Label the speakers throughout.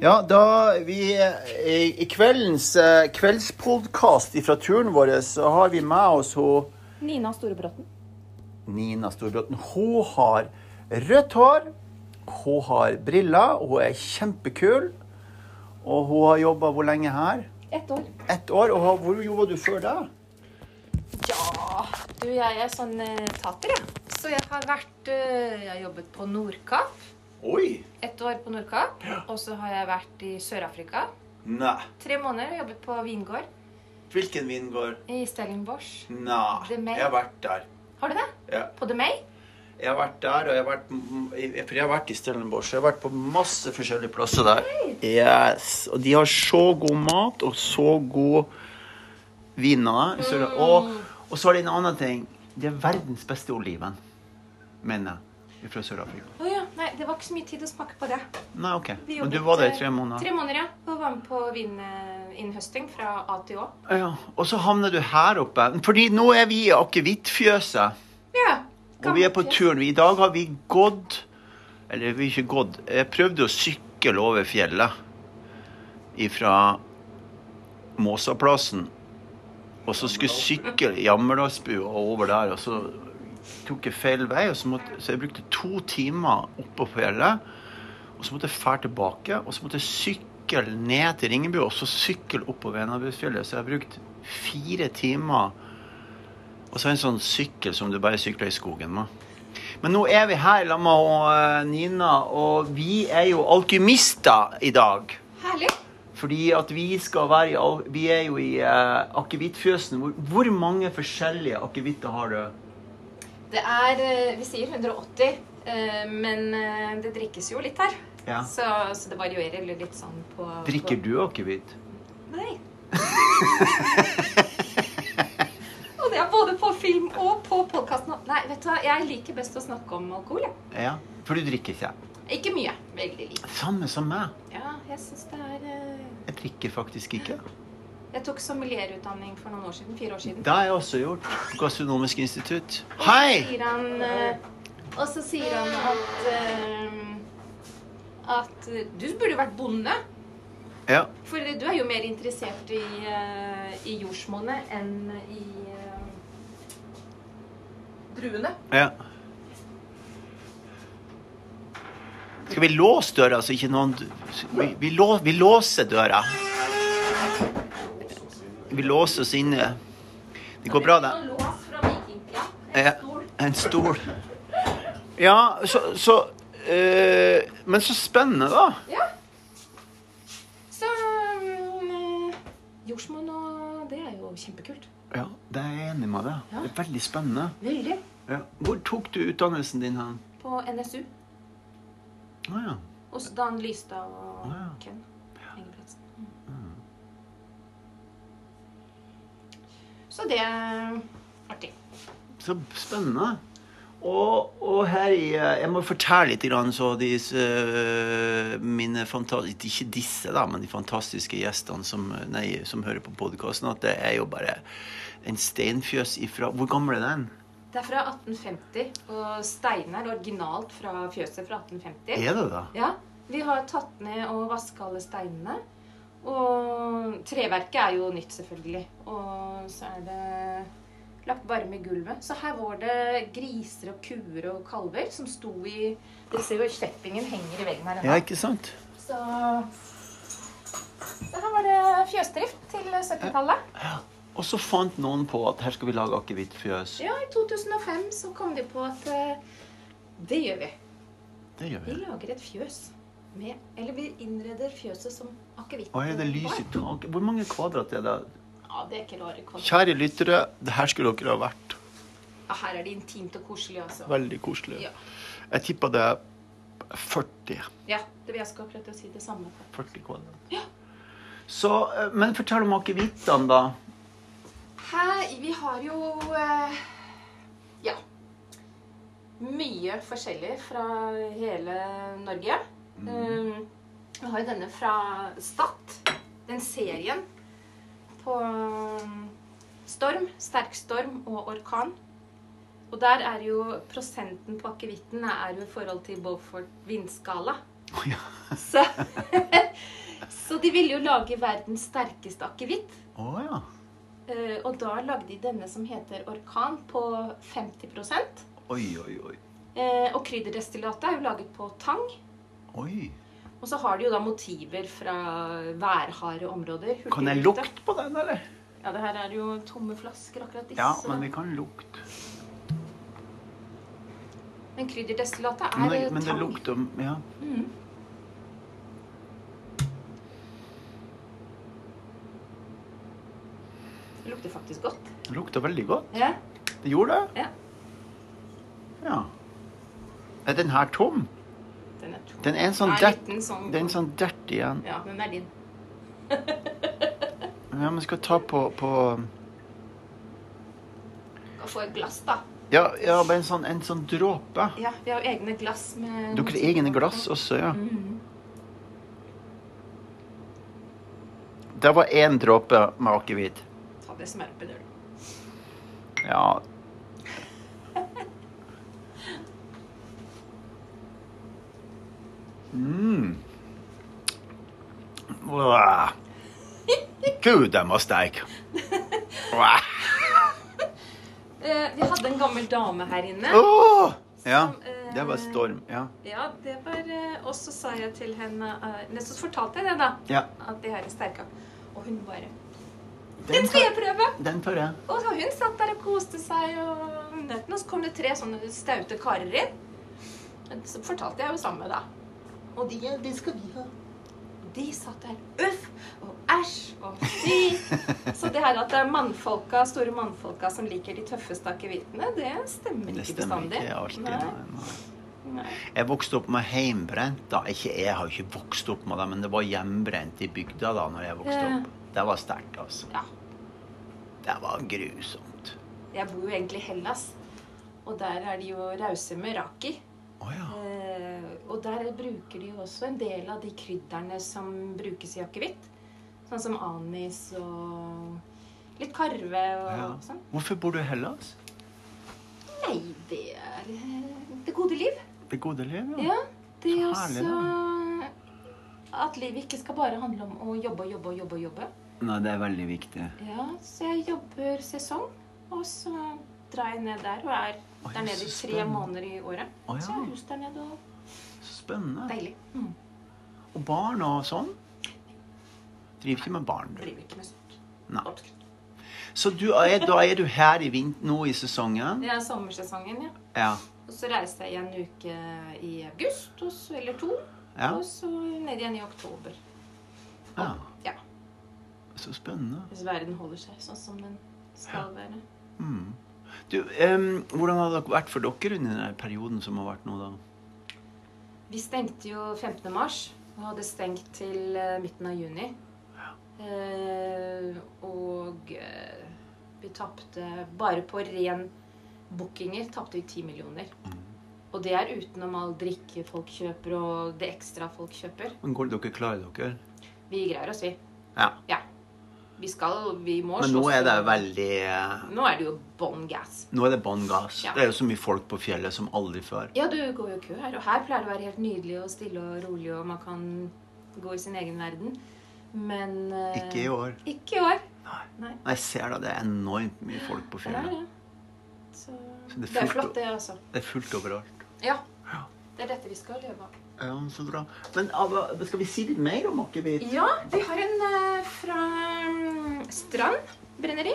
Speaker 1: Ja, da vi eh, I i kveldens eh, kveldspodkast fra turen vår så har vi med oss hun
Speaker 2: Nina Storebråten.
Speaker 1: Nina Storbråten. Hun har rødt hår, hun har briller, hun er kjempekul. Og hun har jobba hvor lenge her?
Speaker 2: Ett år.
Speaker 1: Ett år. Og har- hvor jobba du før det?
Speaker 2: Ja, du, jeg er sånn eh, tater, jeg. Så jeg har vært eh, Jeg har jobbet på Nordkapp.
Speaker 1: Oi!
Speaker 2: Ett år på Nordkapp. Og så har jeg vært i Sør-Afrika.
Speaker 1: Nei.
Speaker 2: Tre måneder jobbet på vingård
Speaker 1: Hvilken vingård?
Speaker 2: i Stellingbosch.
Speaker 1: Nei.
Speaker 2: The May. jeg har
Speaker 1: vært der.
Speaker 2: Har du det?
Speaker 1: Mm. Ja.
Speaker 2: På The May?
Speaker 1: Jeg har vært der, og jeg har vært, jeg, for jeg har vært i Stellenbosch. Jeg har vært på masse forskjellige plasser der. Yes. Og de har så god mat og så god vin av det. Så det- Og, og så er det en annen ting. Det er verdens beste oliven, mener jeg, fra Sør-Afrika.
Speaker 2: Å ja. Nei, det var ikke så mye tid å smake på det.
Speaker 1: Nei, OK.
Speaker 2: Vi
Speaker 1: Men du
Speaker 2: jobbet,
Speaker 1: var der
Speaker 2: eh,
Speaker 1: i tre måneder.
Speaker 2: Tre måneder, ja. Og var med på vininnhøsting fra A til Å.
Speaker 1: Ja, og så havner du her oppe. Fordi nå er vi i akevittfjøset.
Speaker 2: Ja.
Speaker 1: Og vi er på
Speaker 2: gammelt, ja.
Speaker 1: turen. I dag har vi gått Eller vi har ikke gått. Jeg prøvde å sykle over fjellet ifra Måsaplassen. Og så skulle jeg sykle i Jammerdalsbua og over der, og så tok jeg feil vei. Og så, måtte, så jeg brukte to timer oppå fjellet. Og så måtte jeg fære tilbake, og så måtte jeg sykle ned til Ringebu, og så sykle opp på Venabufjellet. Så jeg har brukt fire timer. Og så en sånn sykkel som du bare sykler i skogen med. Men nå er vi her sammen med hun, eh, Nina, og vi er jo alkymister i dag.
Speaker 2: Herlig.
Speaker 1: Fordi at vi skal være i al- Vi er jo i eh, akevittfjøsen. Hvor, hvor mange forskjellige akevitter har du?
Speaker 2: Det er eh, Vi sier 180, eh, men eh, det drikkes jo litt her.
Speaker 1: Ja.
Speaker 2: Så, så det varierer litt sånn på
Speaker 1: Drikker du akevitt?
Speaker 2: på, Nei. og det er både på film og på podkasten. Nei, vet du hva, jeg liker best å snakke om alkohol, jeg.
Speaker 1: Ja. For du drikker ikke?
Speaker 2: Ikke mye. Veldig lite.
Speaker 1: Samme som meg.
Speaker 2: Ja, jeg syns det er eh,
Speaker 1: Jeg drikker faktisk ikke.
Speaker 2: Jeg tok sommelierutdanning for noen år siden. Fire år siden.
Speaker 1: Det har jeg også gjort. Gastronomisk institutt. Hei!
Speaker 2: Sier han, eh, og så sier han at eh, At eh, du burde vært bonde.
Speaker 1: Ja.
Speaker 2: For du er jo mer interessert i, eh, i jordsmonnet enn i eh, druene.
Speaker 1: ja. Skal vi låse døra, så ikke noen Vi, vi, lå, vi låser døra. Vi låser oss inne. Det går bra, det.
Speaker 2: Noen lås fra vikingtida. En
Speaker 1: Ja,
Speaker 2: stol.
Speaker 1: en stol. Ja, så, så eh, Men så spennende, da.
Speaker 2: Ja. Så um, eh, jordsmonn og det er jo kjempekult.
Speaker 1: Ja, det er jeg enig med deg. Det er veldig spennende.
Speaker 2: Veldig.
Speaker 1: Ja. Hvor tok du utdannelsen din hen?
Speaker 2: På NSU.
Speaker 1: Å ja.
Speaker 2: Hos Dan Lystad og
Speaker 1: Ja.
Speaker 2: Ken Engebretsen. Mm. Så det er artig.
Speaker 1: Så spennende. Og, og her i eh, Jeg må fortelle litt, grann, så disse, eh, mine fantastiske Ikke disse, da, men de fantastiske gjestene som, nei, som hører på podkasten, at det er jo bare en steinfjøs ifra Hvor gammel er den?
Speaker 2: Det er fra 1850, og Steinar originalt fra fjøset fra 1850.
Speaker 1: Er det det?
Speaker 2: Ja, Vi har tatt ned og vaska alle steinene. Og treverket er jo nytt, selvfølgelig. Og så er det lagt varme i gulvet. Så her var det griser og kuer og kalver som sto i Dere ser jo sleppingen henger i veggen her
Speaker 1: Ja,
Speaker 2: ennå.
Speaker 1: ikke sant?
Speaker 2: Så så her var det fjøsdrift til 70-tallet.
Speaker 1: Og så fant noen på at her skal vi lage akevittfjøs.
Speaker 2: Ja, i 2005 så kom de på at eh, det gjør vi.
Speaker 1: Det gjør
Speaker 2: Vi
Speaker 1: vi.
Speaker 2: lager et fjøs med Eller vi innreder fjøset som akevitt.
Speaker 1: Og her er det lys i taket. Hvor mange kvadrat er det?
Speaker 2: Ja, det er ikke rare kvalitet.
Speaker 1: Kjære lyttere, det her skulle dere ha vært.
Speaker 2: Ja, Ah, her er det intimt og koselig, altså.
Speaker 1: Veldig koselig.
Speaker 2: Ja.
Speaker 1: Jeg tippa det er 40.
Speaker 2: ja det, jeg skal prøve å si det samme.
Speaker 1: 40 kvadrat.
Speaker 2: Ja.
Speaker 1: Så, eh, men fortell om akevittene, da.
Speaker 2: Her, vi har jo eh, ja mye forskjellig fra hele Norge. Um, vi har jo denne fra Stad, den serien på um, storm, sterk storm og orkan. Og der er jo prosenten på akevitten er jo i forhold til Beaufort vindskala.
Speaker 1: Ja.
Speaker 2: Så, så de ville jo lage verdens sterkeste akevitt.
Speaker 1: Å ja.
Speaker 2: Eh, Og da lagde de denne som heter Orkan på 50
Speaker 1: Oi, oi, oi.
Speaker 2: Eh, Og krydderdestillatet er jo laget på tang.
Speaker 1: Oi.
Speaker 2: Og så har de jo da motiver fra værharde områder.
Speaker 1: Kan jeg
Speaker 2: Hurtigrute.
Speaker 1: lukte på den, eller?
Speaker 2: Ja, det her er jo tomme flasker, akkurat disse.
Speaker 1: Ja, men vi kan lukte.
Speaker 2: Men krydderdestillatet er
Speaker 1: Men det, men det
Speaker 2: tang.
Speaker 1: lukter Ja.
Speaker 2: Mm. Det lukter faktisk godt.
Speaker 1: Det lukter veldig godt.
Speaker 2: Ja.
Speaker 1: Det gjorde det?
Speaker 2: Ja.
Speaker 1: Ja. Er den her tom?
Speaker 2: Den er tom.
Speaker 1: Den er en sånn
Speaker 2: Ja, en
Speaker 1: dert,
Speaker 2: liten sånn.
Speaker 1: det er en sånn dert igjen.
Speaker 2: Ja, den er din.
Speaker 1: Ja, men skal ta på, på
Speaker 2: Kan få et glass, da.
Speaker 1: Ja, ja bare en sånn, en sånn dråpe.
Speaker 2: Ja, vi har jo egne glass med
Speaker 1: Dere har egne glass også, ja.
Speaker 2: Mhm.
Speaker 1: Det var én dråpe med akevitt.
Speaker 2: Ta det smøret oppi døren.
Speaker 1: Ja. Mm. Wow. Gud, den var sterk. Wow.
Speaker 2: Eh, vi hadde en gammel dame her inne.
Speaker 1: Åh! Ja,
Speaker 2: Som, eh,
Speaker 1: det var storm. Ja.
Speaker 2: Ja, det var eh, Og så sa jeg til henne eh, nei, Så fortalte jeg det, da.
Speaker 1: ja.
Speaker 2: At det her er sterka. Og hun bare Den
Speaker 1: Den
Speaker 2: skal
Speaker 1: tar,
Speaker 2: jeg prøve!
Speaker 1: den tar jeg.
Speaker 2: Og så hun satt der og koste seg, og nøtten, og så kom det tre sånne staute karer inn. Så fortalte jeg jo samme, da. Og de, ja, de skal vi ha. Og de satt der uff og æsj og fy. Så det her at det er mannfolka, store mannfolka som liker de tøffeste akevittene, det stemmer
Speaker 1: Det
Speaker 2: ikke
Speaker 1: stemmer
Speaker 2: bestandig.
Speaker 1: ikke alltid.
Speaker 2: Nei,
Speaker 1: Nei. Nei.
Speaker 2: nei.
Speaker 1: Jeg vokste opp med heimbrent. da. Ikke, jeg har jo ikke vokst opp med det, men det var hjembrent i bygda da når jeg vokste
Speaker 2: Ja.
Speaker 1: opp. Det var sterkt, altså.
Speaker 2: Ja.
Speaker 1: Det var grusomt.
Speaker 2: Jeg bor jo egentlig i Hellas, og der er de jo rause med raki.
Speaker 1: Å ja.
Speaker 2: Eh, og der bruker de jo også en del av de krydderne som brukes i akevitt. Sånn som anis og litt karve og
Speaker 1: Ja.
Speaker 2: sånn.
Speaker 1: Hvorfor bor du i Hellas?
Speaker 2: Nei, det er eh, det gode liv.
Speaker 1: Det gode liv, ja.
Speaker 2: Ja. Det er
Speaker 1: Så Mm. herlig,
Speaker 2: også at livet ikke skal bare handle om å jobbe og jobbe og jobbe. og jobbe.
Speaker 1: Nei, det er veldig viktig.
Speaker 2: Ja, Så jeg jobber sesong, og så drar jeg ned der og er
Speaker 1: Oi,
Speaker 2: der nede i
Speaker 1: så
Speaker 2: tre
Speaker 1: spennende.
Speaker 2: måneder i året.
Speaker 1: Å,
Speaker 2: Så jeg
Speaker 1: ja.
Speaker 2: har hus der nede og
Speaker 1: Så spennende.
Speaker 2: deilig. Mm.
Speaker 1: Og barn og sånn? Driver ikke med barn, du.
Speaker 2: Driver ikke med sånt.
Speaker 1: Nei.
Speaker 2: Absolutt.
Speaker 1: Så du er, da er du her i vint nå i sesongen?
Speaker 2: Det er sommersesongen, ja.
Speaker 1: Ja.
Speaker 2: Og så reiser jeg en uke i august, og så, eller to,
Speaker 1: ja.
Speaker 2: og så ned igjen i oktober.
Speaker 1: ja.
Speaker 2: Ja,
Speaker 1: Så spennende.
Speaker 2: Hvis verden holder seg sånn som den skal være.
Speaker 1: Mm. Du, em, hvordan har det vært for dere under den perioden som har vært nå, da?
Speaker 2: Vi stengte jo 15. mars, og hadde stengt til eh, midten av juni. Eh, og eh, vi tapte bare på ren bookinger tapte vi 10 millioner. Og det er utenom all drikke folk kjøper, og det ekstra folk kjøper.
Speaker 1: Men går dere klarer dere?
Speaker 2: Vi greier oss, vi.
Speaker 1: Ja.
Speaker 2: Ja. Vi skal, vi må
Speaker 1: Men nå
Speaker 2: slåss.
Speaker 1: er det veldig eh,
Speaker 2: Nå er det jo bånn gass.
Speaker 1: Nå er det bånn gass.
Speaker 2: Ja.
Speaker 1: Det er jo så mye folk på fjellet som aldri før.
Speaker 2: Ja, du går jo kø her, og her pleier det å være helt nydelig og stille og rolig, og man kan gå i sin egen verden. Men eh,
Speaker 1: Ikke i år.
Speaker 2: Ikke i år.
Speaker 1: Nei.
Speaker 2: Nei.
Speaker 1: Jeg ser da, det er enormt mye folk på
Speaker 2: Det er
Speaker 1: fjellet.
Speaker 2: det. Så,
Speaker 1: Så det er
Speaker 2: det er
Speaker 1: fullt
Speaker 2: flott,
Speaker 1: opp.
Speaker 2: det, altså.
Speaker 1: Det er fullt overalt.
Speaker 2: Ja.
Speaker 1: Ja.
Speaker 2: Det er dette vi skal leve av.
Speaker 1: Ja, så bra. Men Ava, skal vi si litt mer om akevitt?
Speaker 2: Ja, vi har en eh, fra mm, Strand brenneri.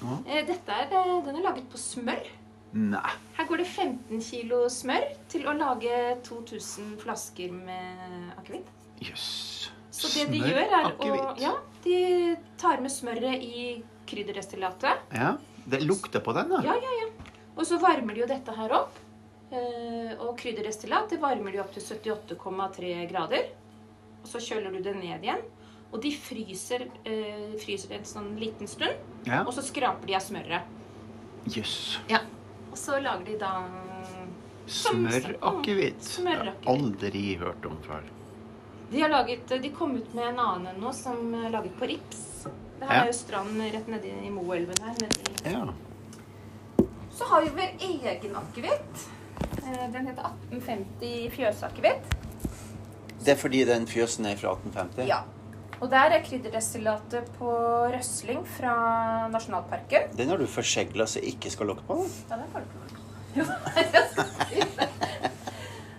Speaker 1: Ja.
Speaker 2: Eh, Dette er, eh, den er laget på smør.
Speaker 1: Nei.
Speaker 2: Her går det 15 kilo smør til å lage 2000 flasker med akevitt.
Speaker 1: Jøss.
Speaker 2: Så det de gjør, er å
Speaker 1: akevitt.
Speaker 2: Ja, de tar med smøret i krydderdestillatet.
Speaker 1: Ja. Det lukter på den, da.
Speaker 2: Ja, ja, ja. Og så varmer de jo dette her opp. Eh, og krydderdestillat det varmer de opp til 78,3 grader. Og så kjøler du det ned igjen. Og de fryser, eh, fryser en sånn liten stund.
Speaker 1: Ja.
Speaker 2: Og så skraper de av smøret.
Speaker 1: Jøss.
Speaker 2: Og så lager de da Som- Mm.
Speaker 1: Smørakevitt. Det har jeg
Speaker 2: Smørakevitt.
Speaker 1: aldri hørt om før.
Speaker 2: De har laget, de kom ut med en annen nå som er laget på rips. Det her
Speaker 1: Ja.
Speaker 2: er jo strand rett nedi i Moelven her. Nedi.
Speaker 1: Ja.
Speaker 2: Så har vi vår egen akevitt. Eh, Den heter 1850 fjøsakevitt.
Speaker 1: Det er fordi den fjøsen er fra 1850?
Speaker 2: Ja. Og der er krydderdestillatet på røsling fra nasjonalparken.
Speaker 1: Den har du forsegla så ikke skal lukke på?
Speaker 2: Ja, den får du ikke Jo, jeg skal si det.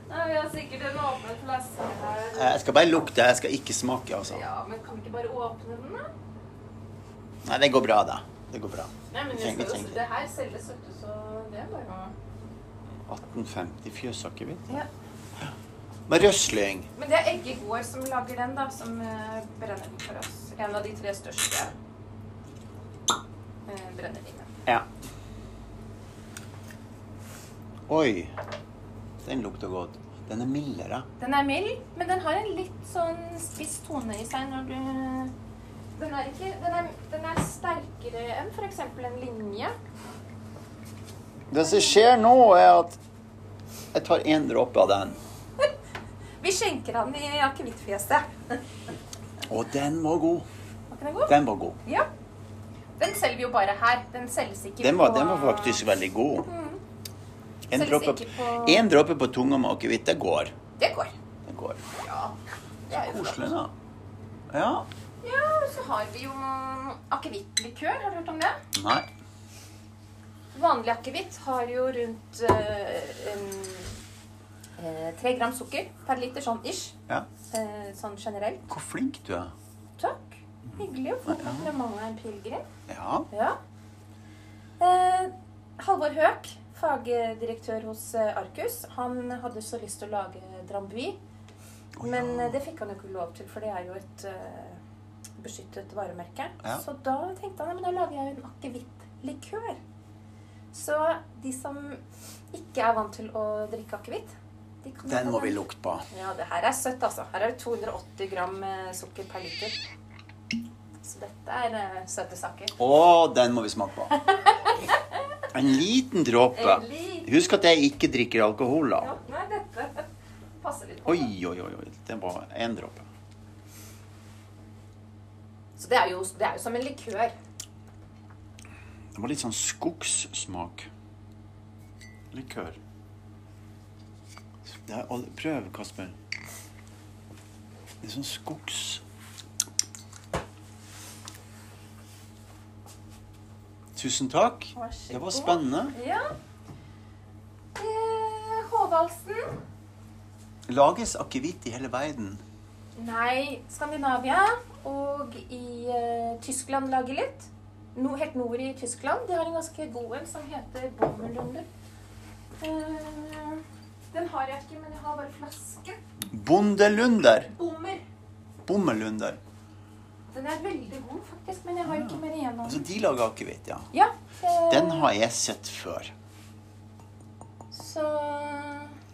Speaker 2: Nei, vi har sikkert en åpen flaske her.
Speaker 1: Eh, Jeg skal bare lukte, jeg skal ikke smake, altså.
Speaker 3: Ja, men kan vi ikke bare åpne den, da?
Speaker 1: Nei, det går bra, da. Det går bra.
Speaker 3: Nei, men jeg
Speaker 1: Tenk,
Speaker 3: skal,
Speaker 1: tenk.
Speaker 3: jo- det her selges vet du, så det er bare å
Speaker 1: 1850 fjøsakevitt.
Speaker 2: Ja.
Speaker 1: Med røsling.
Speaker 2: Men det er Egge gård som lager den, da, som eh, brenner den for oss. En av de tre største eh, brennevinene.
Speaker 1: Ja. Oi. Den lukter godt. Den er mildere.
Speaker 2: Den er mild, men den har en litt sånn spiss tone i seg når du Den er, ikke, den er, den er sterkere enn f.eks. en linje.
Speaker 1: Det som skjer nå, er at jeg tar én dråpe av den.
Speaker 2: Vi skjenker han i akevittfjeset.
Speaker 1: Og den var god.
Speaker 2: Var ikke den god?
Speaker 1: Den var god.
Speaker 2: Ja. Den selger vi jo bare her. Den selges ikke
Speaker 1: Den var,
Speaker 2: på
Speaker 1: den var faktisk veldig god.
Speaker 2: Mm.
Speaker 1: En
Speaker 2: Selges
Speaker 1: dråpe,
Speaker 2: ikke på-
Speaker 1: en dråpe på tunga med akevitt, det går.
Speaker 2: Det går.
Speaker 1: Det går.
Speaker 2: Ja. Det er jo flott.
Speaker 1: Koselig, da. Ja.
Speaker 2: Ja, og så har vi jo akevittlikør. Har du hørt om det?
Speaker 1: Nei.
Speaker 2: Vanlig akevitt har jo rundt eh, em, eh, tre gram sukker per liter, sånn ish.
Speaker 1: Ja.
Speaker 2: Eh, sånn generelt.
Speaker 1: Hvor flink du er.
Speaker 2: Takk. Hyggelig å få komplimenter av en pilegrim.
Speaker 1: Ja.
Speaker 2: Ja. Eh, Halvor Høek, fagdirektør hos eh, Arcus, han hadde så lyst til å lage Drambuie.
Speaker 1: Å,
Speaker 2: Men
Speaker 1: ja.
Speaker 2: eh, det fikk han jo ikke lov til, for det er jo et eh, beskyttet varemerke.
Speaker 1: Ja.
Speaker 2: Så da tenkte han "Ja, men da lager jeg jo en akevittlikør. Så de som ikke er vant til å drikke akevitt de kan
Speaker 1: Den
Speaker 2: ta
Speaker 1: må vi lukte på.
Speaker 2: Ja, det her er søtt, altså. Her er det 280 gram eh, sukker per liter. Så dette er eh, søte saker.
Speaker 1: Å, den må vi smake på. En liten dråpe.
Speaker 2: En liten-
Speaker 1: Husk at jeg ikke drikker alkohol, da.
Speaker 2: Ja, nei, dette passer litt på.
Speaker 1: Oi, oi, oi. oi. Det var én dråpe.
Speaker 2: Så det er, jo, det er jo som en likør.
Speaker 1: Det var litt sånn skogssmak. Likør. Det er all... Prøv, Kasper. Det er sånn skogs... Tusen takk.
Speaker 2: Vær så
Speaker 1: Det var
Speaker 2: god.
Speaker 1: spennende.
Speaker 2: Ja. Eh, Håvaldsen.
Speaker 1: Lages akevitt i hele verden?
Speaker 2: Nei, Skandinavia. Og i eh, Tyskland lager litt. No, helt nord i Tyskland. De har en ganske god en som heter Bommellunder. Eh, den har jeg ikke, men jeg har bare flaske.
Speaker 1: Bondelunder.
Speaker 2: Bommer.
Speaker 1: Bommelunder.
Speaker 2: Den er veldig god, faktisk, men jeg har ikke mer igjen av
Speaker 1: Altså,
Speaker 2: den.
Speaker 1: de lager akevitt, ja.
Speaker 2: Ja. eh,
Speaker 1: Den har jeg sett før.
Speaker 2: Så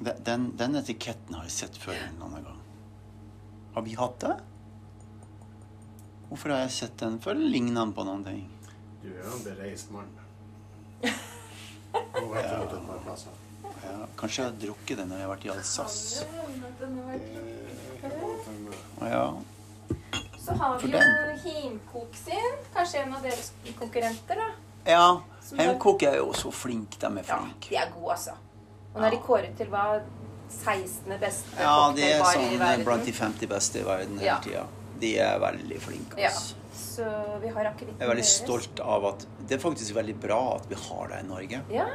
Speaker 1: Den, den, den etiketten har jeg sett før en eller annen gang. Har vi hatt det? Hvorfor har jeg sett den før? Ligner den på noen ting?
Speaker 4: Du er jo en bereist mann. Og vært rundt et par plasser.
Speaker 1: Ja, kanskje jeg har drukket den når jeg har vært i Alsace.
Speaker 2: Eh,
Speaker 1: Å Ja.
Speaker 2: Så har
Speaker 1: For
Speaker 2: vi
Speaker 1: den.
Speaker 2: jo Himkok sin. Kanskje en av deres konkurrenter, da.
Speaker 1: ja. Hemkok er jo så flink. De er
Speaker 2: Ja,
Speaker 1: flinke.
Speaker 2: de er gode, altså. Og nå er de kåret til hva 16. beste
Speaker 1: Ja, de er
Speaker 2: cocktailbar i
Speaker 1: sånn
Speaker 2: verden.
Speaker 1: blant de 50 beste i verden hele
Speaker 2: Ja.
Speaker 1: tida. De er veldig flinke.
Speaker 2: Ja.
Speaker 1: Altså.
Speaker 2: Så vi har akevitten
Speaker 1: Jeg er veldig
Speaker 2: deres.
Speaker 1: stolt av at Det er faktisk veldig bra at vi har det i Norge.
Speaker 2: Ja,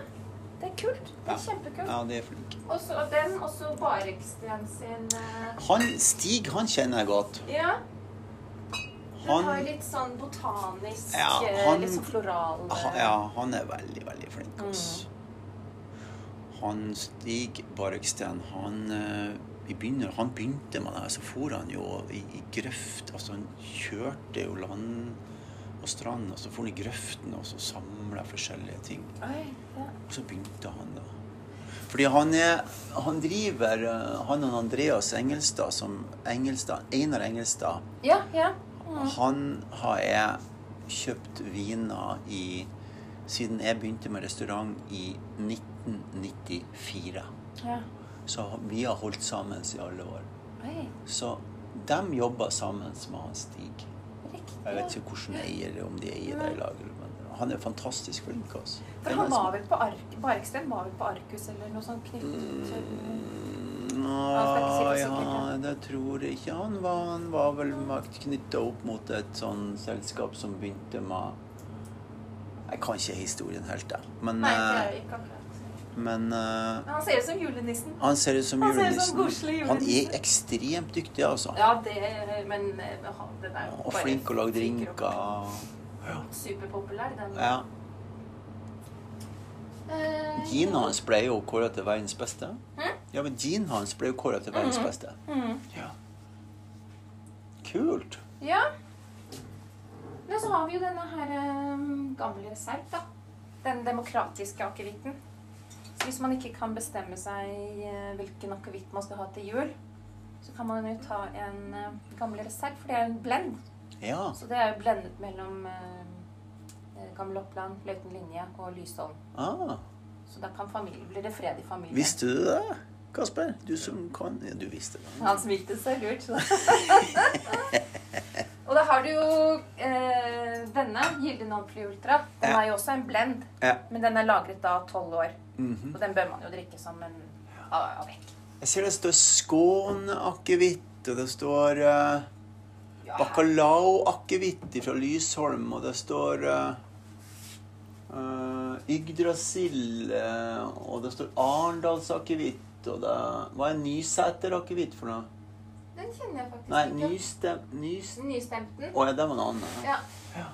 Speaker 2: det er kult. Det
Speaker 1: Ja.
Speaker 2: er kjempekult.
Speaker 1: Ja, de er flinke.
Speaker 2: Og så den, og så Bareksten sin. eh,
Speaker 1: Han, Stig han kjenner jeg godt.
Speaker 2: Ja.
Speaker 1: Han-
Speaker 2: Den har litt sånn botanisk,
Speaker 1: Ja,
Speaker 2: eh,
Speaker 1: han-
Speaker 2: litt sånn floral
Speaker 1: Ha-
Speaker 2: eh,
Speaker 1: Ja, han er veldig, veldig flink, ass. Han Stig Barksten, han eh, i begynner, Han begynte med det, her, så for han jo i, i grøft. Altså, han kjørte jo land og strand, og så for han i grøften og så samla forskjellige ting.
Speaker 2: Oi, ja.
Speaker 1: Og så begynte han, da. Fordi han er Han driver eh, Han og Andreas Engelstad, som Engelstad Einar Engelstad
Speaker 2: Ja, ja. Mm.
Speaker 1: han har jeg kjøpt viner i Siden jeg begynte med restaurant i 1994.
Speaker 2: ja.
Speaker 1: Så vi har holdt sammen i alle år.
Speaker 2: Oi,
Speaker 1: Så de jobber sammen med han Stig.
Speaker 2: riktig.
Speaker 1: Jeg vet ikke hvordan eier det, om de eier det i lag, men han er fantastisk flink. Altså.
Speaker 2: For han var vel på Ark Bareksten var vel på Arkus eller noe sånt knyttet til
Speaker 1: Nei,
Speaker 2: skal ikke si det sikkert,
Speaker 1: Mm, ja,
Speaker 2: ja.
Speaker 1: det jeg tror ikke han var Han var vel knytta opp mot et sånn selskap som begynte med Jeg kan ikke historien helt, jeg. Men,
Speaker 2: Nei, det er
Speaker 1: eh,
Speaker 2: jo ikke akkurat.
Speaker 1: men eh,
Speaker 2: Men han ser ut som julenissen.
Speaker 1: han ser ut som
Speaker 2: Han ser ut
Speaker 1: julenissen.
Speaker 2: som koselig
Speaker 1: Han er
Speaker 2: julenissen.
Speaker 1: ekstremt dyktig, altså.
Speaker 2: Ja, det Men eh, han- den er jo
Speaker 1: Og
Speaker 2: bare
Speaker 1: flink til å lage
Speaker 2: fyker opp.
Speaker 1: drinker. Ja.
Speaker 2: Superpopulær, den.
Speaker 1: ja.
Speaker 2: Eh,
Speaker 1: Ginen hans ble jo kåra til verdens beste.
Speaker 2: Hm?
Speaker 1: Ja, men ginen hans ble jo kåra til verdens beste.
Speaker 2: Mhm.
Speaker 1: Ja. Kult.
Speaker 2: Ja. Men så har vi jo denne her eh, gamle serp, da. Den demokratiske akevitten. Så hvis man ikke kan bestemme seg eh, hvilken akevitt man skal ha til jul, så kan man jo ta en eh, gammel reserv, for det er en blend.
Speaker 1: Ja.
Speaker 2: Så det er jo blendet mellom eh, eh, Gammel Oppland, Løiten linje og Lysholm.
Speaker 1: Ah.
Speaker 2: Så da kan familie, blir det fred i familien.
Speaker 1: Visste du det, Kasper? Du som kan ja, Du visste det.
Speaker 2: Han smilte så lurt. og da har du jo eh, denne, Gylden Ampli Ultra. Den
Speaker 1: Ja.
Speaker 2: er jo også en blend,
Speaker 1: Ja.
Speaker 2: men den er lagret da tolv år.
Speaker 1: Mhm.
Speaker 2: Og den bør man jo drikke som en av- avvekk.
Speaker 1: Jeg ser det står Skåne-akevitt, og det står uh,
Speaker 2: Ja.
Speaker 1: bacalao-akevitt fra Lysholm, og det står uh, Yggdrasil, eh, og det står Arendalsakevitt, og det Hva er Nysæter-akevitt for noe?
Speaker 2: Den kjenner jeg faktisk
Speaker 1: Nei,
Speaker 2: ikke.
Speaker 1: Nystem... Nys...
Speaker 2: Nystemten.
Speaker 1: Å ja, det var noe annet.
Speaker 2: Ja.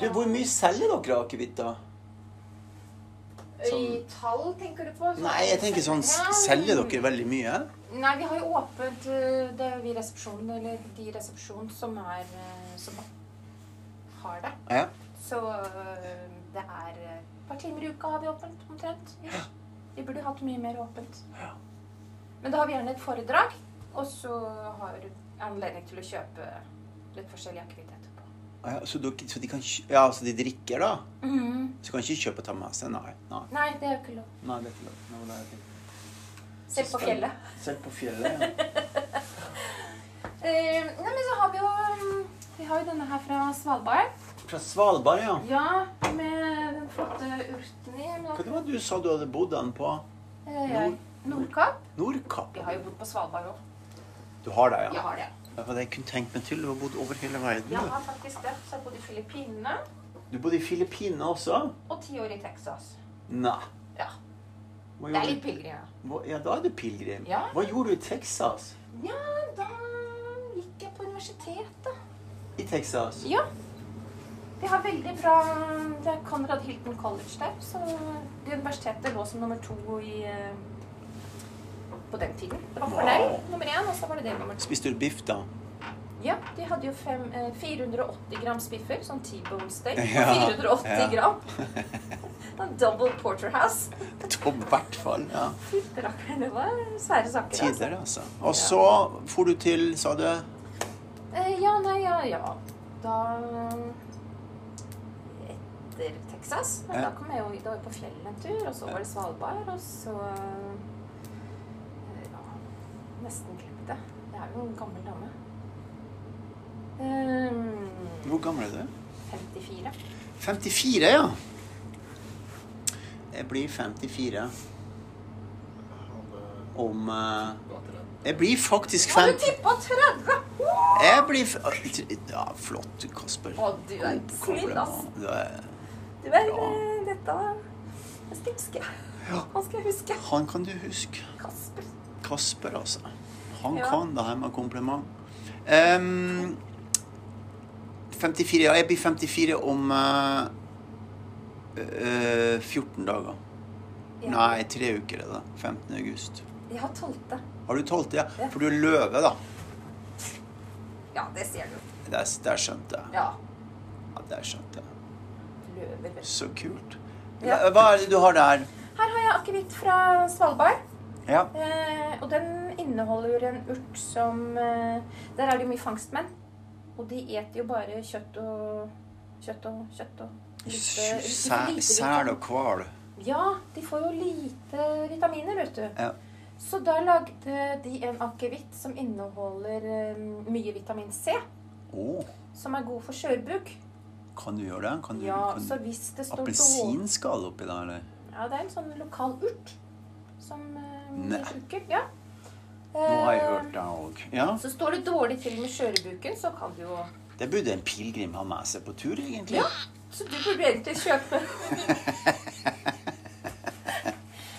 Speaker 1: Du, hvor mye selger dere akevitt, da?
Speaker 2: I tall tenker du på? Så-
Speaker 1: Nei, jeg tenker sånn s-
Speaker 2: Ja,
Speaker 1: Selger dere veldig mye?
Speaker 2: Nei, vi har jo åpent eh, det er jo vi i resepsjonen, eller de i resepsjonen som er eh, som har det.
Speaker 1: Ja.
Speaker 2: Så eh, det er eh, et par timer i uka har vi åpent, omtrent. ish. Vi burde hatt mye mer åpent.
Speaker 1: Ja.
Speaker 2: Men da har vi gjerne et foredrag, og så har du anledning til å kjøpe litt forskjellig akevitt etterpå.
Speaker 1: Ah, Ja, så, dere, så de kan kj- Ja, så de drikker, da?
Speaker 2: Mm-hmm.
Speaker 1: Så kan ikke kjøpe og ta med seg? Nei. Nei,
Speaker 2: Nei, det er jo ikke lov.
Speaker 1: nei det er ikke lov. Nå må det-
Speaker 2: Selv på
Speaker 1: Spennende.
Speaker 2: fjellet.
Speaker 1: Selv på fjellet, ja.
Speaker 2: Eh, nei, men så har vi jo mm, Vi har jo denne her fra Svalbard.
Speaker 1: Fra Svalbard, ja.
Speaker 2: Ja, med den flotte urten i. men-
Speaker 1: Hva det var det du sa du hadde bodd den på?
Speaker 2: Eh, ja, Nordkapp.
Speaker 1: Nordkapp?
Speaker 2: Vi har jo bodd på Svalbard òg.
Speaker 1: Du har det,
Speaker 2: Jeg
Speaker 1: ja?
Speaker 2: har det.
Speaker 1: Ja, for jeg kunne tenkt meg til. Du har bodd over hele verden.
Speaker 2: Jeg
Speaker 1: du.
Speaker 2: har faktisk det. Så jeg bodde i Filippinene
Speaker 1: Du bodde i Filippinene også?
Speaker 2: og ti år i Texas.
Speaker 1: Nei.
Speaker 2: Ja.
Speaker 1: Hva
Speaker 2: Det er
Speaker 1: gjorde
Speaker 2: litt
Speaker 1: du?
Speaker 2: pilegrimer.
Speaker 1: Hva- Ja, da er det pilegrim.
Speaker 2: Ja.
Speaker 1: Hva gjorde du i Texas?
Speaker 2: Ja, da gikk jeg på universitetet.
Speaker 1: I Texas?
Speaker 2: Ja. De har veldig bra Det er Conrad Hilton College der, så det universitetet lå som nummer to i eh, på den tiden. Det var Cornell
Speaker 1: Wow.
Speaker 2: nummer én, og så var det det nummer to.
Speaker 1: Spiste du biff, da?
Speaker 2: Ja, de hadde jo fem, eh, 480 grams biffer, sånn T-bone steak.
Speaker 1: Ja,
Speaker 2: 480
Speaker 1: ja.
Speaker 2: gram. En double porterhouse.
Speaker 1: To, I hvert fall. ja.
Speaker 2: Fytti rakkeren, det var svære saker. altså.
Speaker 1: Tidligere, altså. Og så for du til, sa du?
Speaker 2: Eh, ja, nei, ja, ja. Da eh, Etter Texas. Men
Speaker 1: Ja.
Speaker 2: da kom jeg jo da var jeg på fjellet en tur, og så var det Svalbard, og så eh, Ja, nesten glemte. Jeg er jo en gammel dame. Eh,
Speaker 1: Hvor gammel er du?
Speaker 2: 54.
Speaker 1: 54, ja. Jeg blir 54 om eh, Jeg blir faktisk
Speaker 2: Har du
Speaker 1: 50
Speaker 2: tippa 30?
Speaker 1: Jeg blir f- Ja, flott, Kasper.
Speaker 2: Å, du er
Speaker 1: God
Speaker 2: snill, ass.
Speaker 1: kompliment. Du er-
Speaker 2: Du er
Speaker 1: Ja.
Speaker 2: eh, dette Jeg skal huske.
Speaker 1: Ja.
Speaker 2: Han skal jeg huske.
Speaker 1: Han kan du huske.
Speaker 2: Kasper.
Speaker 1: Kasper, altså. Han
Speaker 2: Ja.
Speaker 1: kan det her med kompliment. Ehm, 54, ja. Jeg blir 54 om eh, eh, 14 dager.
Speaker 2: Ja.
Speaker 1: Nei, tre uker er det. 15. august.
Speaker 2: Jeg har tolvte.
Speaker 1: Har du tolvte, ja?
Speaker 2: Ja.
Speaker 1: For du er løve, da.
Speaker 2: Ja, det ser du.
Speaker 1: Der, der skjønte jeg.
Speaker 2: Ja.
Speaker 1: Ja, der skjønte jeg.
Speaker 2: Løver.
Speaker 1: Så kult.
Speaker 2: Ja.
Speaker 1: Hva- Hva er det du har der?
Speaker 2: Her har jeg akevitt fra Svalbard.
Speaker 1: Ja.
Speaker 2: Eh, og den inneholder en urt som eh, Der er det jo mye fangstmenn. Og de eter jo bare kjøtt og Kjøtt og kjøtt og lite-
Speaker 1: Sæl
Speaker 2: lite
Speaker 1: sæl
Speaker 2: vitamin.
Speaker 1: og hval.
Speaker 2: Ja, de får jo lite vitaminer, vet du.
Speaker 1: Ja.
Speaker 2: Så da lagde de en akevitt som inneholder eh, mye vitamin C,
Speaker 1: Å,
Speaker 2: som er god for skjørbuk.
Speaker 1: kan du gjøre det? Kan du,
Speaker 2: Ja, så
Speaker 1: kan
Speaker 2: hvis det står dårlig
Speaker 1: Appelsinskall oppi der, eller?
Speaker 2: Ja, det er en sånn lokal urt som eh,
Speaker 1: Nei.
Speaker 2: vi bruker. Ja.
Speaker 1: Nå har jeg hørt det òg. Ja.
Speaker 2: Så står det dårlig til med skjørebuken, så kan du jo
Speaker 1: Det burde en pilegrim ha med seg på tur, egentlig.
Speaker 2: Ja. Så du burde egentlig kjøpe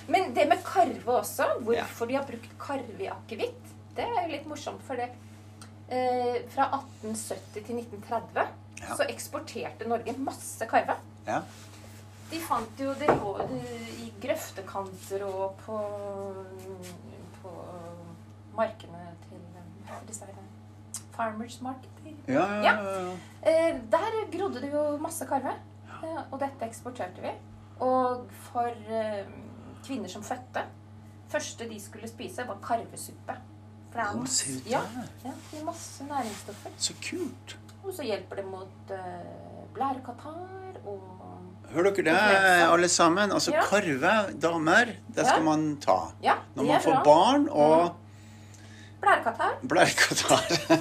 Speaker 2: Men det med karve også, hvorfor de har brukt karve i akevitt, det er jo litt morsomt. For det eh, Fra 1870 til 1930
Speaker 1: Ja.
Speaker 2: så eksporterte Norge masse karve.
Speaker 1: Ja.
Speaker 2: De fant jo det lå eh, i grøftekanter og på, på markene til eh, hva er disse her, Farmers Market.
Speaker 1: Ja, ja, ja, ja.
Speaker 2: Eh, der grodde det jo masse karve, eh, og dette eksporterte vi. Og for eh, kvinner som fødte første de skulle spise, var karvesuppe. For det er
Speaker 1: Å,
Speaker 2: masse-
Speaker 1: se ut
Speaker 2: ja,
Speaker 1: der.
Speaker 2: ja, det er masse næringsstoffer.
Speaker 1: Så kult.
Speaker 2: Og så hjelper det mot eh, blærekatarr og
Speaker 1: Hør dere det, alle sammen? Altså,
Speaker 2: Ja.
Speaker 1: karve, damer, det skal
Speaker 2: Ja.
Speaker 1: man ta.
Speaker 2: Ja,
Speaker 1: Når
Speaker 2: det
Speaker 1: man
Speaker 2: er
Speaker 1: får
Speaker 2: bra.
Speaker 1: barn og
Speaker 2: Blærekatarr.
Speaker 1: blærekatarr.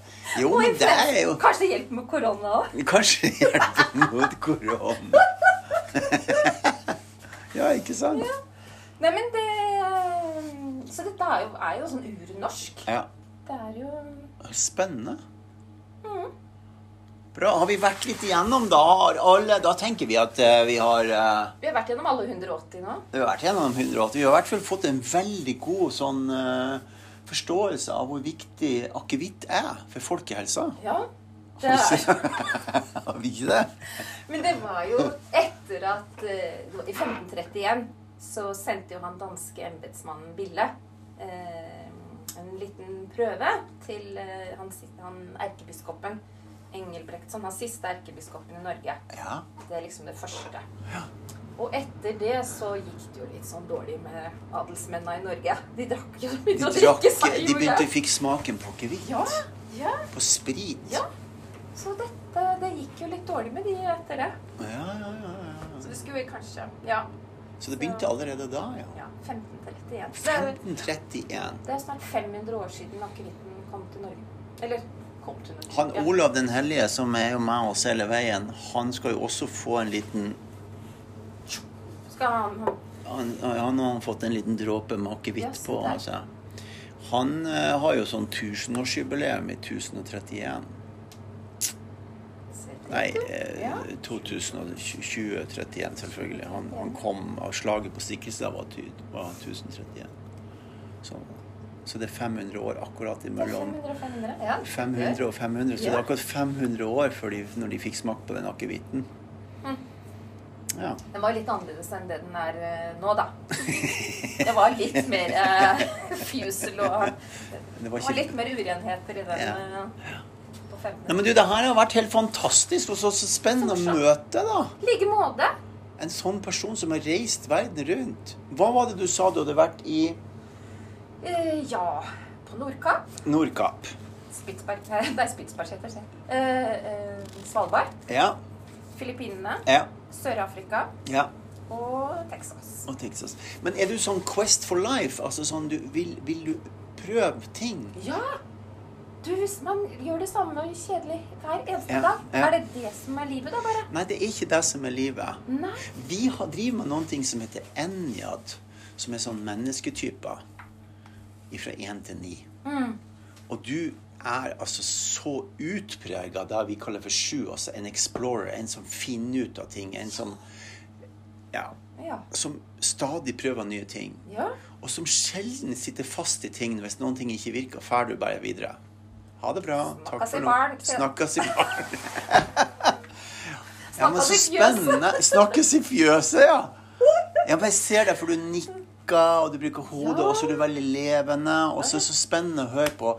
Speaker 1: Jo,
Speaker 2: Og
Speaker 1: men det er
Speaker 2: influensa.
Speaker 1: jo
Speaker 2: Kanskje det hjelper med korona òg.
Speaker 1: Kanskje hjelper mot korona. Ja, ikke sant?
Speaker 2: Nei, men det eh, Så dette er jo, er jo sånn urnorsk.
Speaker 1: Ja.
Speaker 2: Det er jo
Speaker 1: Spennende.
Speaker 2: Mhm.
Speaker 1: Bra. Har vi vært litt igjennom, da? Har alle, da tenker vi at eh, vi har eh,
Speaker 2: Vi har vært gjennom alle 180 nå.
Speaker 1: Vi har vært gjennom 180. Vi har i hvert fall fått en veldig god sånn eh, forståelse av hvor viktig akevitt er for folkehelsa.
Speaker 2: Ja. Det er,
Speaker 1: Har vi ikke det?
Speaker 2: men det var jo etter at eh, I 1531 så sendte jo han danske embetsmannen Bille eh, en liten prøve til eh, han, si- han erkebiskopen Engelbrektsson, han siste erkebiskopen i Norge.
Speaker 1: Ja.
Speaker 2: Det er liksom det første. Og etter det så gikk det jo litt sånn dårlig med adelsmennene i Norge. De drakk jo
Speaker 1: De,
Speaker 2: begynte å
Speaker 1: drakk,
Speaker 2: drikke seg
Speaker 1: de
Speaker 2: jo
Speaker 1: begynte
Speaker 2: i hjel.
Speaker 1: fikk smaken på akevitt.
Speaker 2: Ja, ja,
Speaker 1: På sprit.
Speaker 2: ja. Så dette, det gikk jo litt dårlig med de etter det.
Speaker 1: Ja, ja, ja, ja.
Speaker 2: Så det skulle vi kanskje Ja,
Speaker 1: Så det begynte allerede da, ja.
Speaker 2: ja 1531. Så det er,
Speaker 1: 1531.
Speaker 2: det er snart 500 år siden akevitten kom til Norge. Eller kom til Norge.
Speaker 1: Han
Speaker 2: ja.
Speaker 1: Olav den hellige, som er jo med oss hele veien, han skal jo også få en liten
Speaker 2: Skal han, han
Speaker 1: Han, han har fått en liten dråpe med akevitt
Speaker 2: Ja, se
Speaker 1: på.
Speaker 2: der.
Speaker 1: Altså. Han eh, har jo sånn tusenårsjubileum i 1031.
Speaker 2: se det?
Speaker 1: Nei, eh,
Speaker 2: Ja.
Speaker 1: 2031 selvfølgelig. Han, han kom av slaget på Stiklestad var, ty- var 1031. Så, så det er 500 år akkurat
Speaker 2: Det er
Speaker 1: imellom.
Speaker 2: 500 og 500. Ja.
Speaker 1: 500 og 500, så det
Speaker 2: Ja.
Speaker 1: er akkurat 500 år før de, når de fikk smak på den akevitten.
Speaker 2: Mm.
Speaker 1: Ja.
Speaker 2: Den var litt annerledes enn det den er eh, nå, da. Det var litt mer eh, fusel og
Speaker 1: Det
Speaker 2: Det
Speaker 1: var
Speaker 2: var
Speaker 1: ikke
Speaker 2: litt mer urenheter i den
Speaker 1: Ja.
Speaker 2: eh, på
Speaker 1: Nei,
Speaker 2: 1500.
Speaker 1: men du, det her har vært helt fantastisk, og så, så spennende å
Speaker 2: Så morsomt.
Speaker 1: møte, da.
Speaker 2: I like måte.
Speaker 1: En sånn person som har reist verden rundt. Hva var det du sa du hadde vært i
Speaker 2: Eh, ja, på Nordkapp.
Speaker 1: Nordkapp?
Speaker 2: Spitsberg Nei, det er Spitsberg heter det. Eh, eh, Svalbard.
Speaker 1: Ja,
Speaker 2: Filippinene.
Speaker 1: ja,
Speaker 2: Sør-Afrika
Speaker 1: ja.
Speaker 2: og Texas.
Speaker 1: Og Texas. Men er du sånn Quest for life? Altså sånn du vil, vil du prøve ting?
Speaker 2: Ja! Du, hvis man gjør det samme kjedelig hver eneste
Speaker 1: Ja,
Speaker 2: dag,
Speaker 1: ja.
Speaker 2: er det det som er livet da, bare?
Speaker 1: Nei, det er ikke det som er livet.
Speaker 2: Nei.
Speaker 1: Vi har, driver med noen ting som heter Enjad, som er sånn mennesketyper fra én til ni. Og du er altså så utprega det vi kaller for sju, altså en explorer, en som finner ut av ting, en som ja,
Speaker 2: Ja.
Speaker 1: som stadig prøver nye ting.
Speaker 2: Ja.
Speaker 1: Og som sjelden sitter fast i ting hvis noen ting ikke virker. Fær du bare videre. Ha det bra. Takk
Speaker 2: Snakkes i
Speaker 1: for nå.
Speaker 2: baren.
Speaker 1: Snakkes i baren. Ja, men
Speaker 2: Snakkes
Speaker 1: så
Speaker 2: i fjøset.
Speaker 1: spennende. Snakkes i fjøset, ja. Ja, men jeg ser det, for du nikker, og du bruker hodet, og så er du veldig levende. Og så er det så spennende å høre på.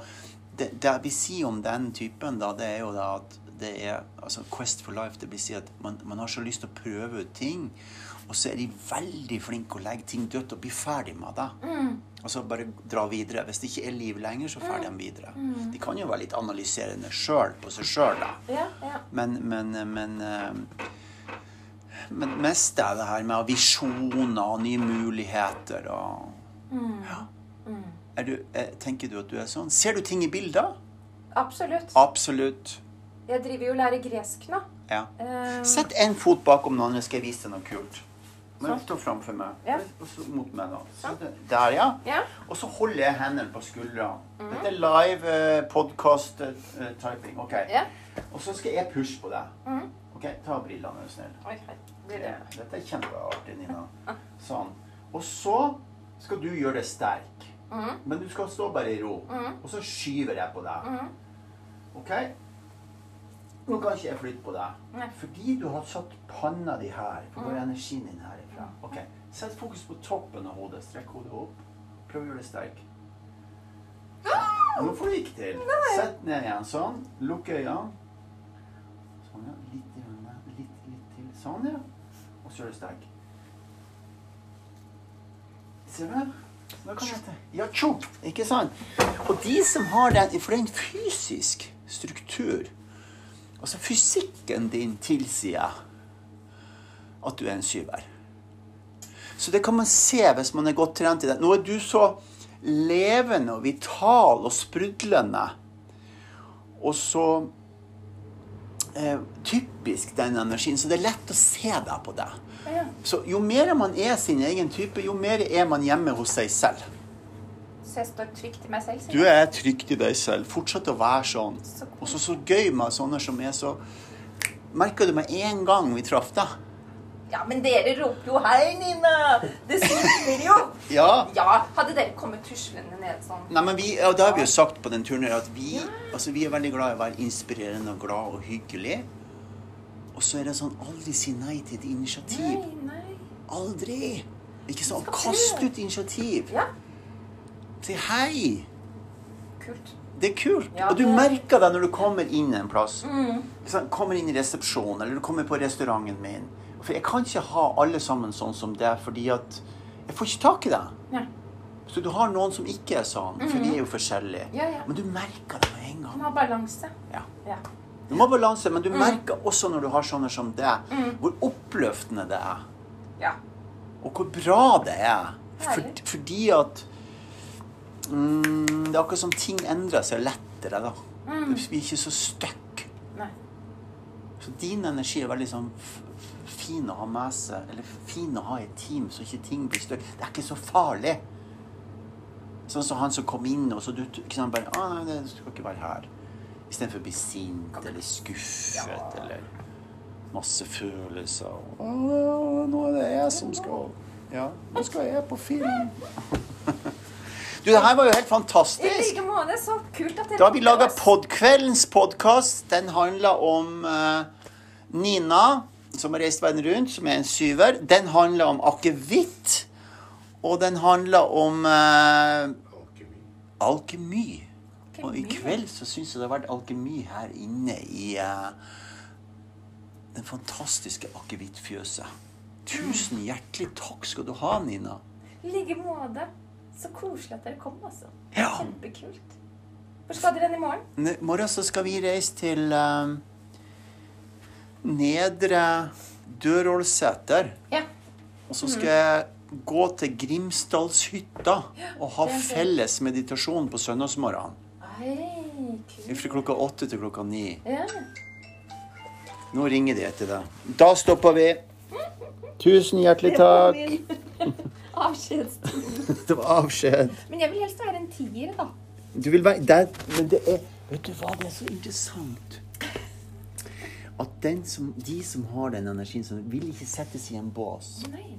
Speaker 1: Det, det vi sier om den typen, da, det er jo da at det er altså Quest for life. Det vil si at man, man har så lyst til å prøve ut ting, og så er de veldig flinke å legge ting dødt og bli ferdig med det. Og så bare dra videre. Hvis det ikke er liv lenger, så drar de videre. De kan jo være litt analyserende sjøl på seg sjøl, da.
Speaker 2: Ja, ja.
Speaker 1: Men, men, men eh, Men mest er det her med visjoner og nye muligheter og
Speaker 2: Mm.
Speaker 1: Ja. Er du, eh, tenker du at du er sånn? Ser du ting i bilder?
Speaker 2: Absolutt.
Speaker 1: Absolutt.
Speaker 2: Jeg driver jo og lærer gresk nå.
Speaker 1: Ja.
Speaker 2: Eh,
Speaker 1: Sett én fot bakom den andre, skal jeg vise deg noe kult. Men stå framfor meg.
Speaker 2: Ja.
Speaker 1: Og så mot meg, da. Så
Speaker 2: Sånn.
Speaker 1: det, der, ja.
Speaker 2: Ja.
Speaker 1: Og så holder jeg hendene på skuldrene.
Speaker 2: Mm.
Speaker 1: Dette er live eh, podcast eh, typing. OK.
Speaker 2: Ja.
Speaker 1: Og så skal jeg pushe på deg.
Speaker 2: Mhm.
Speaker 1: OK, ta brillene, er du snill.
Speaker 2: Oi, hei. Blir det-
Speaker 1: Dette er kjempeartig, Nina. Sånn. Og så skal du gjøre deg sterk.
Speaker 2: Mhm.
Speaker 1: Men du skal stå bare i ro.
Speaker 2: Mhm.
Speaker 1: Og så skyver jeg på deg.
Speaker 2: Mhm.
Speaker 1: OK? Nå kan ikke jeg flytte på deg.
Speaker 2: Nei. Mm-hmm.
Speaker 1: Fordi du har satt panna di her. For da er energien din herifra. OK. Sett fokus på toppen av hodet. Strekk hodet opp. Prøv å gjøre deg sterk. Nå får du ikke til. Sett ned igjen. Sånn. Lukk øynene. Sånn, ja. Litt, i øynene. litt, litt til. Sånn, ja. Og så gjør du sterk. Ser du her? Nå kan jeg til. Ja, tjo! Ikke sant? Og de som har den For det er en fysisk struktur. Altså fysikken din tilsier at du er en syver. Så det kan man se hvis man er godt trent i det. Nå er du så levende og vital og sprudlende. Og så eh, typisk den energien. Så det er lett å se deg på det.
Speaker 2: Ja.
Speaker 1: Så jo mer man er sin egen type, jo mer er man hjemme hos seg selv.
Speaker 2: Så jeg står trygt i meg selv? sier
Speaker 1: Du er trygt i deg selv. Fortsett å være sånn.
Speaker 2: Så kult.
Speaker 1: Og så så gøy med sånne som er så Merka du med en gang vi traff deg?
Speaker 2: Ja, men dere roper jo 'hei, Nina'! Det smiler jo!
Speaker 1: Ja.
Speaker 2: Ja, hadde dere kommet tuslende ned sånn
Speaker 1: Nei, men vi, ja, det har vi jo sagt på den turen her, at vi, altså, vi er veldig glad i å være inspirerende og glad og hyggelig. Og så er det sånn aldri si nei til et
Speaker 2: Nei,
Speaker 1: initiativ.
Speaker 2: nei.
Speaker 1: Aldri! Ikke sånn
Speaker 2: skal
Speaker 1: kast
Speaker 2: prøve.
Speaker 1: ut initiativ.
Speaker 2: Ja,
Speaker 1: Si hei.
Speaker 2: kult.
Speaker 1: Det er kult.
Speaker 2: Ja, Mm.
Speaker 1: og du
Speaker 2: det-
Speaker 1: merker det når du kommer inn en plass. Ikke sant? Kommer inn i resepsjonen, eller du kommer på restauranten min. For jeg kan ikke ha alle sammen sånn som deg, fordi at jeg får ikke tak i deg.
Speaker 2: Nei.
Speaker 1: Så du har noen som ikke er sånn, for vi er jo forskjellige.
Speaker 2: Mm-hmm. Ja, ja.
Speaker 1: Men du merker det med en gang.
Speaker 2: Man har balanse.
Speaker 1: Ja.
Speaker 2: Ja.
Speaker 1: Du må ha balanse, men du merker også når du har sånne som deg, hvor oppløftende det er.
Speaker 2: ja.
Speaker 1: Og hvor bra det er. For,
Speaker 2: Herlig.
Speaker 1: fordi at mm, Det er akkurat som ting endrer seg lettere, da. Det blir ikke så stuck.
Speaker 2: Nei.
Speaker 1: Så din energi er veldig sånn f- f- fin å ha med seg, eller fin å ha i et team, så ikke ting blir stuck. Det er ikke så farlig. Sånn som han som kom inn, og så du ikke sant, bare Å, nei, det skal ikke være her. Istedenfor å bli sint eller skuffet eller masse følelser og «Å, Nå er det jeg som skal Ja, nå skal jeg på film. Du, det her var jo helt
Speaker 2: I
Speaker 1: fantastisk.
Speaker 2: like måte. Så kult at dere
Speaker 1: Da har vi
Speaker 2: kom til
Speaker 1: laga
Speaker 2: oss.
Speaker 1: kveldens podkast. Den handler om eh, Nina, som har reist verden rundt, som er en syver. Den handler om akevitt. Og den handler om eh,
Speaker 4: Alkemi.
Speaker 1: alkemi. Og i
Speaker 2: Alkemi, ja.
Speaker 1: kveld så syns jeg det har vært alkemi her inne i eh, den fantastiske akevittfjøset. Tusen hjertelig takk skal du ha, Nina.
Speaker 2: I like måte. Så koselig at dere kom, altså.
Speaker 1: Ja.
Speaker 2: Kjempekult. Hvor skal dere hen i morgen?
Speaker 1: I morgen så skal vi reise til eh, Nedre Dørålseter.
Speaker 2: Ja.
Speaker 1: Og så skal
Speaker 2: Mm.
Speaker 1: jeg gå til Grimsdalshytta og ha
Speaker 2: det er fint.
Speaker 1: felles meditasjon på søndagsmorgenen.
Speaker 2: Ei, kult.
Speaker 1: Fra klokka åtte til klokka ni.
Speaker 2: Ja.
Speaker 1: Nå ringer de etter deg. Da stopper vi. Tusen hjertelig takk.
Speaker 2: Avskjedstid.
Speaker 1: Det var avskjed.
Speaker 2: Men jeg vil helst være en tier, da.
Speaker 1: Du vil være der, men det er Vet du hva, det er så interessant. At den som, de som har den energien, som vil ikke settes i en bås.
Speaker 2: Nei.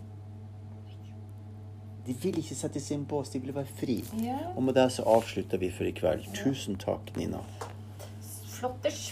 Speaker 1: De vil ikke settes i en bås, de vil være fri.
Speaker 2: Ja.
Speaker 1: Og med det så avslutter vi for i kveld. Tusen takk, Nina.
Speaker 2: Flotters.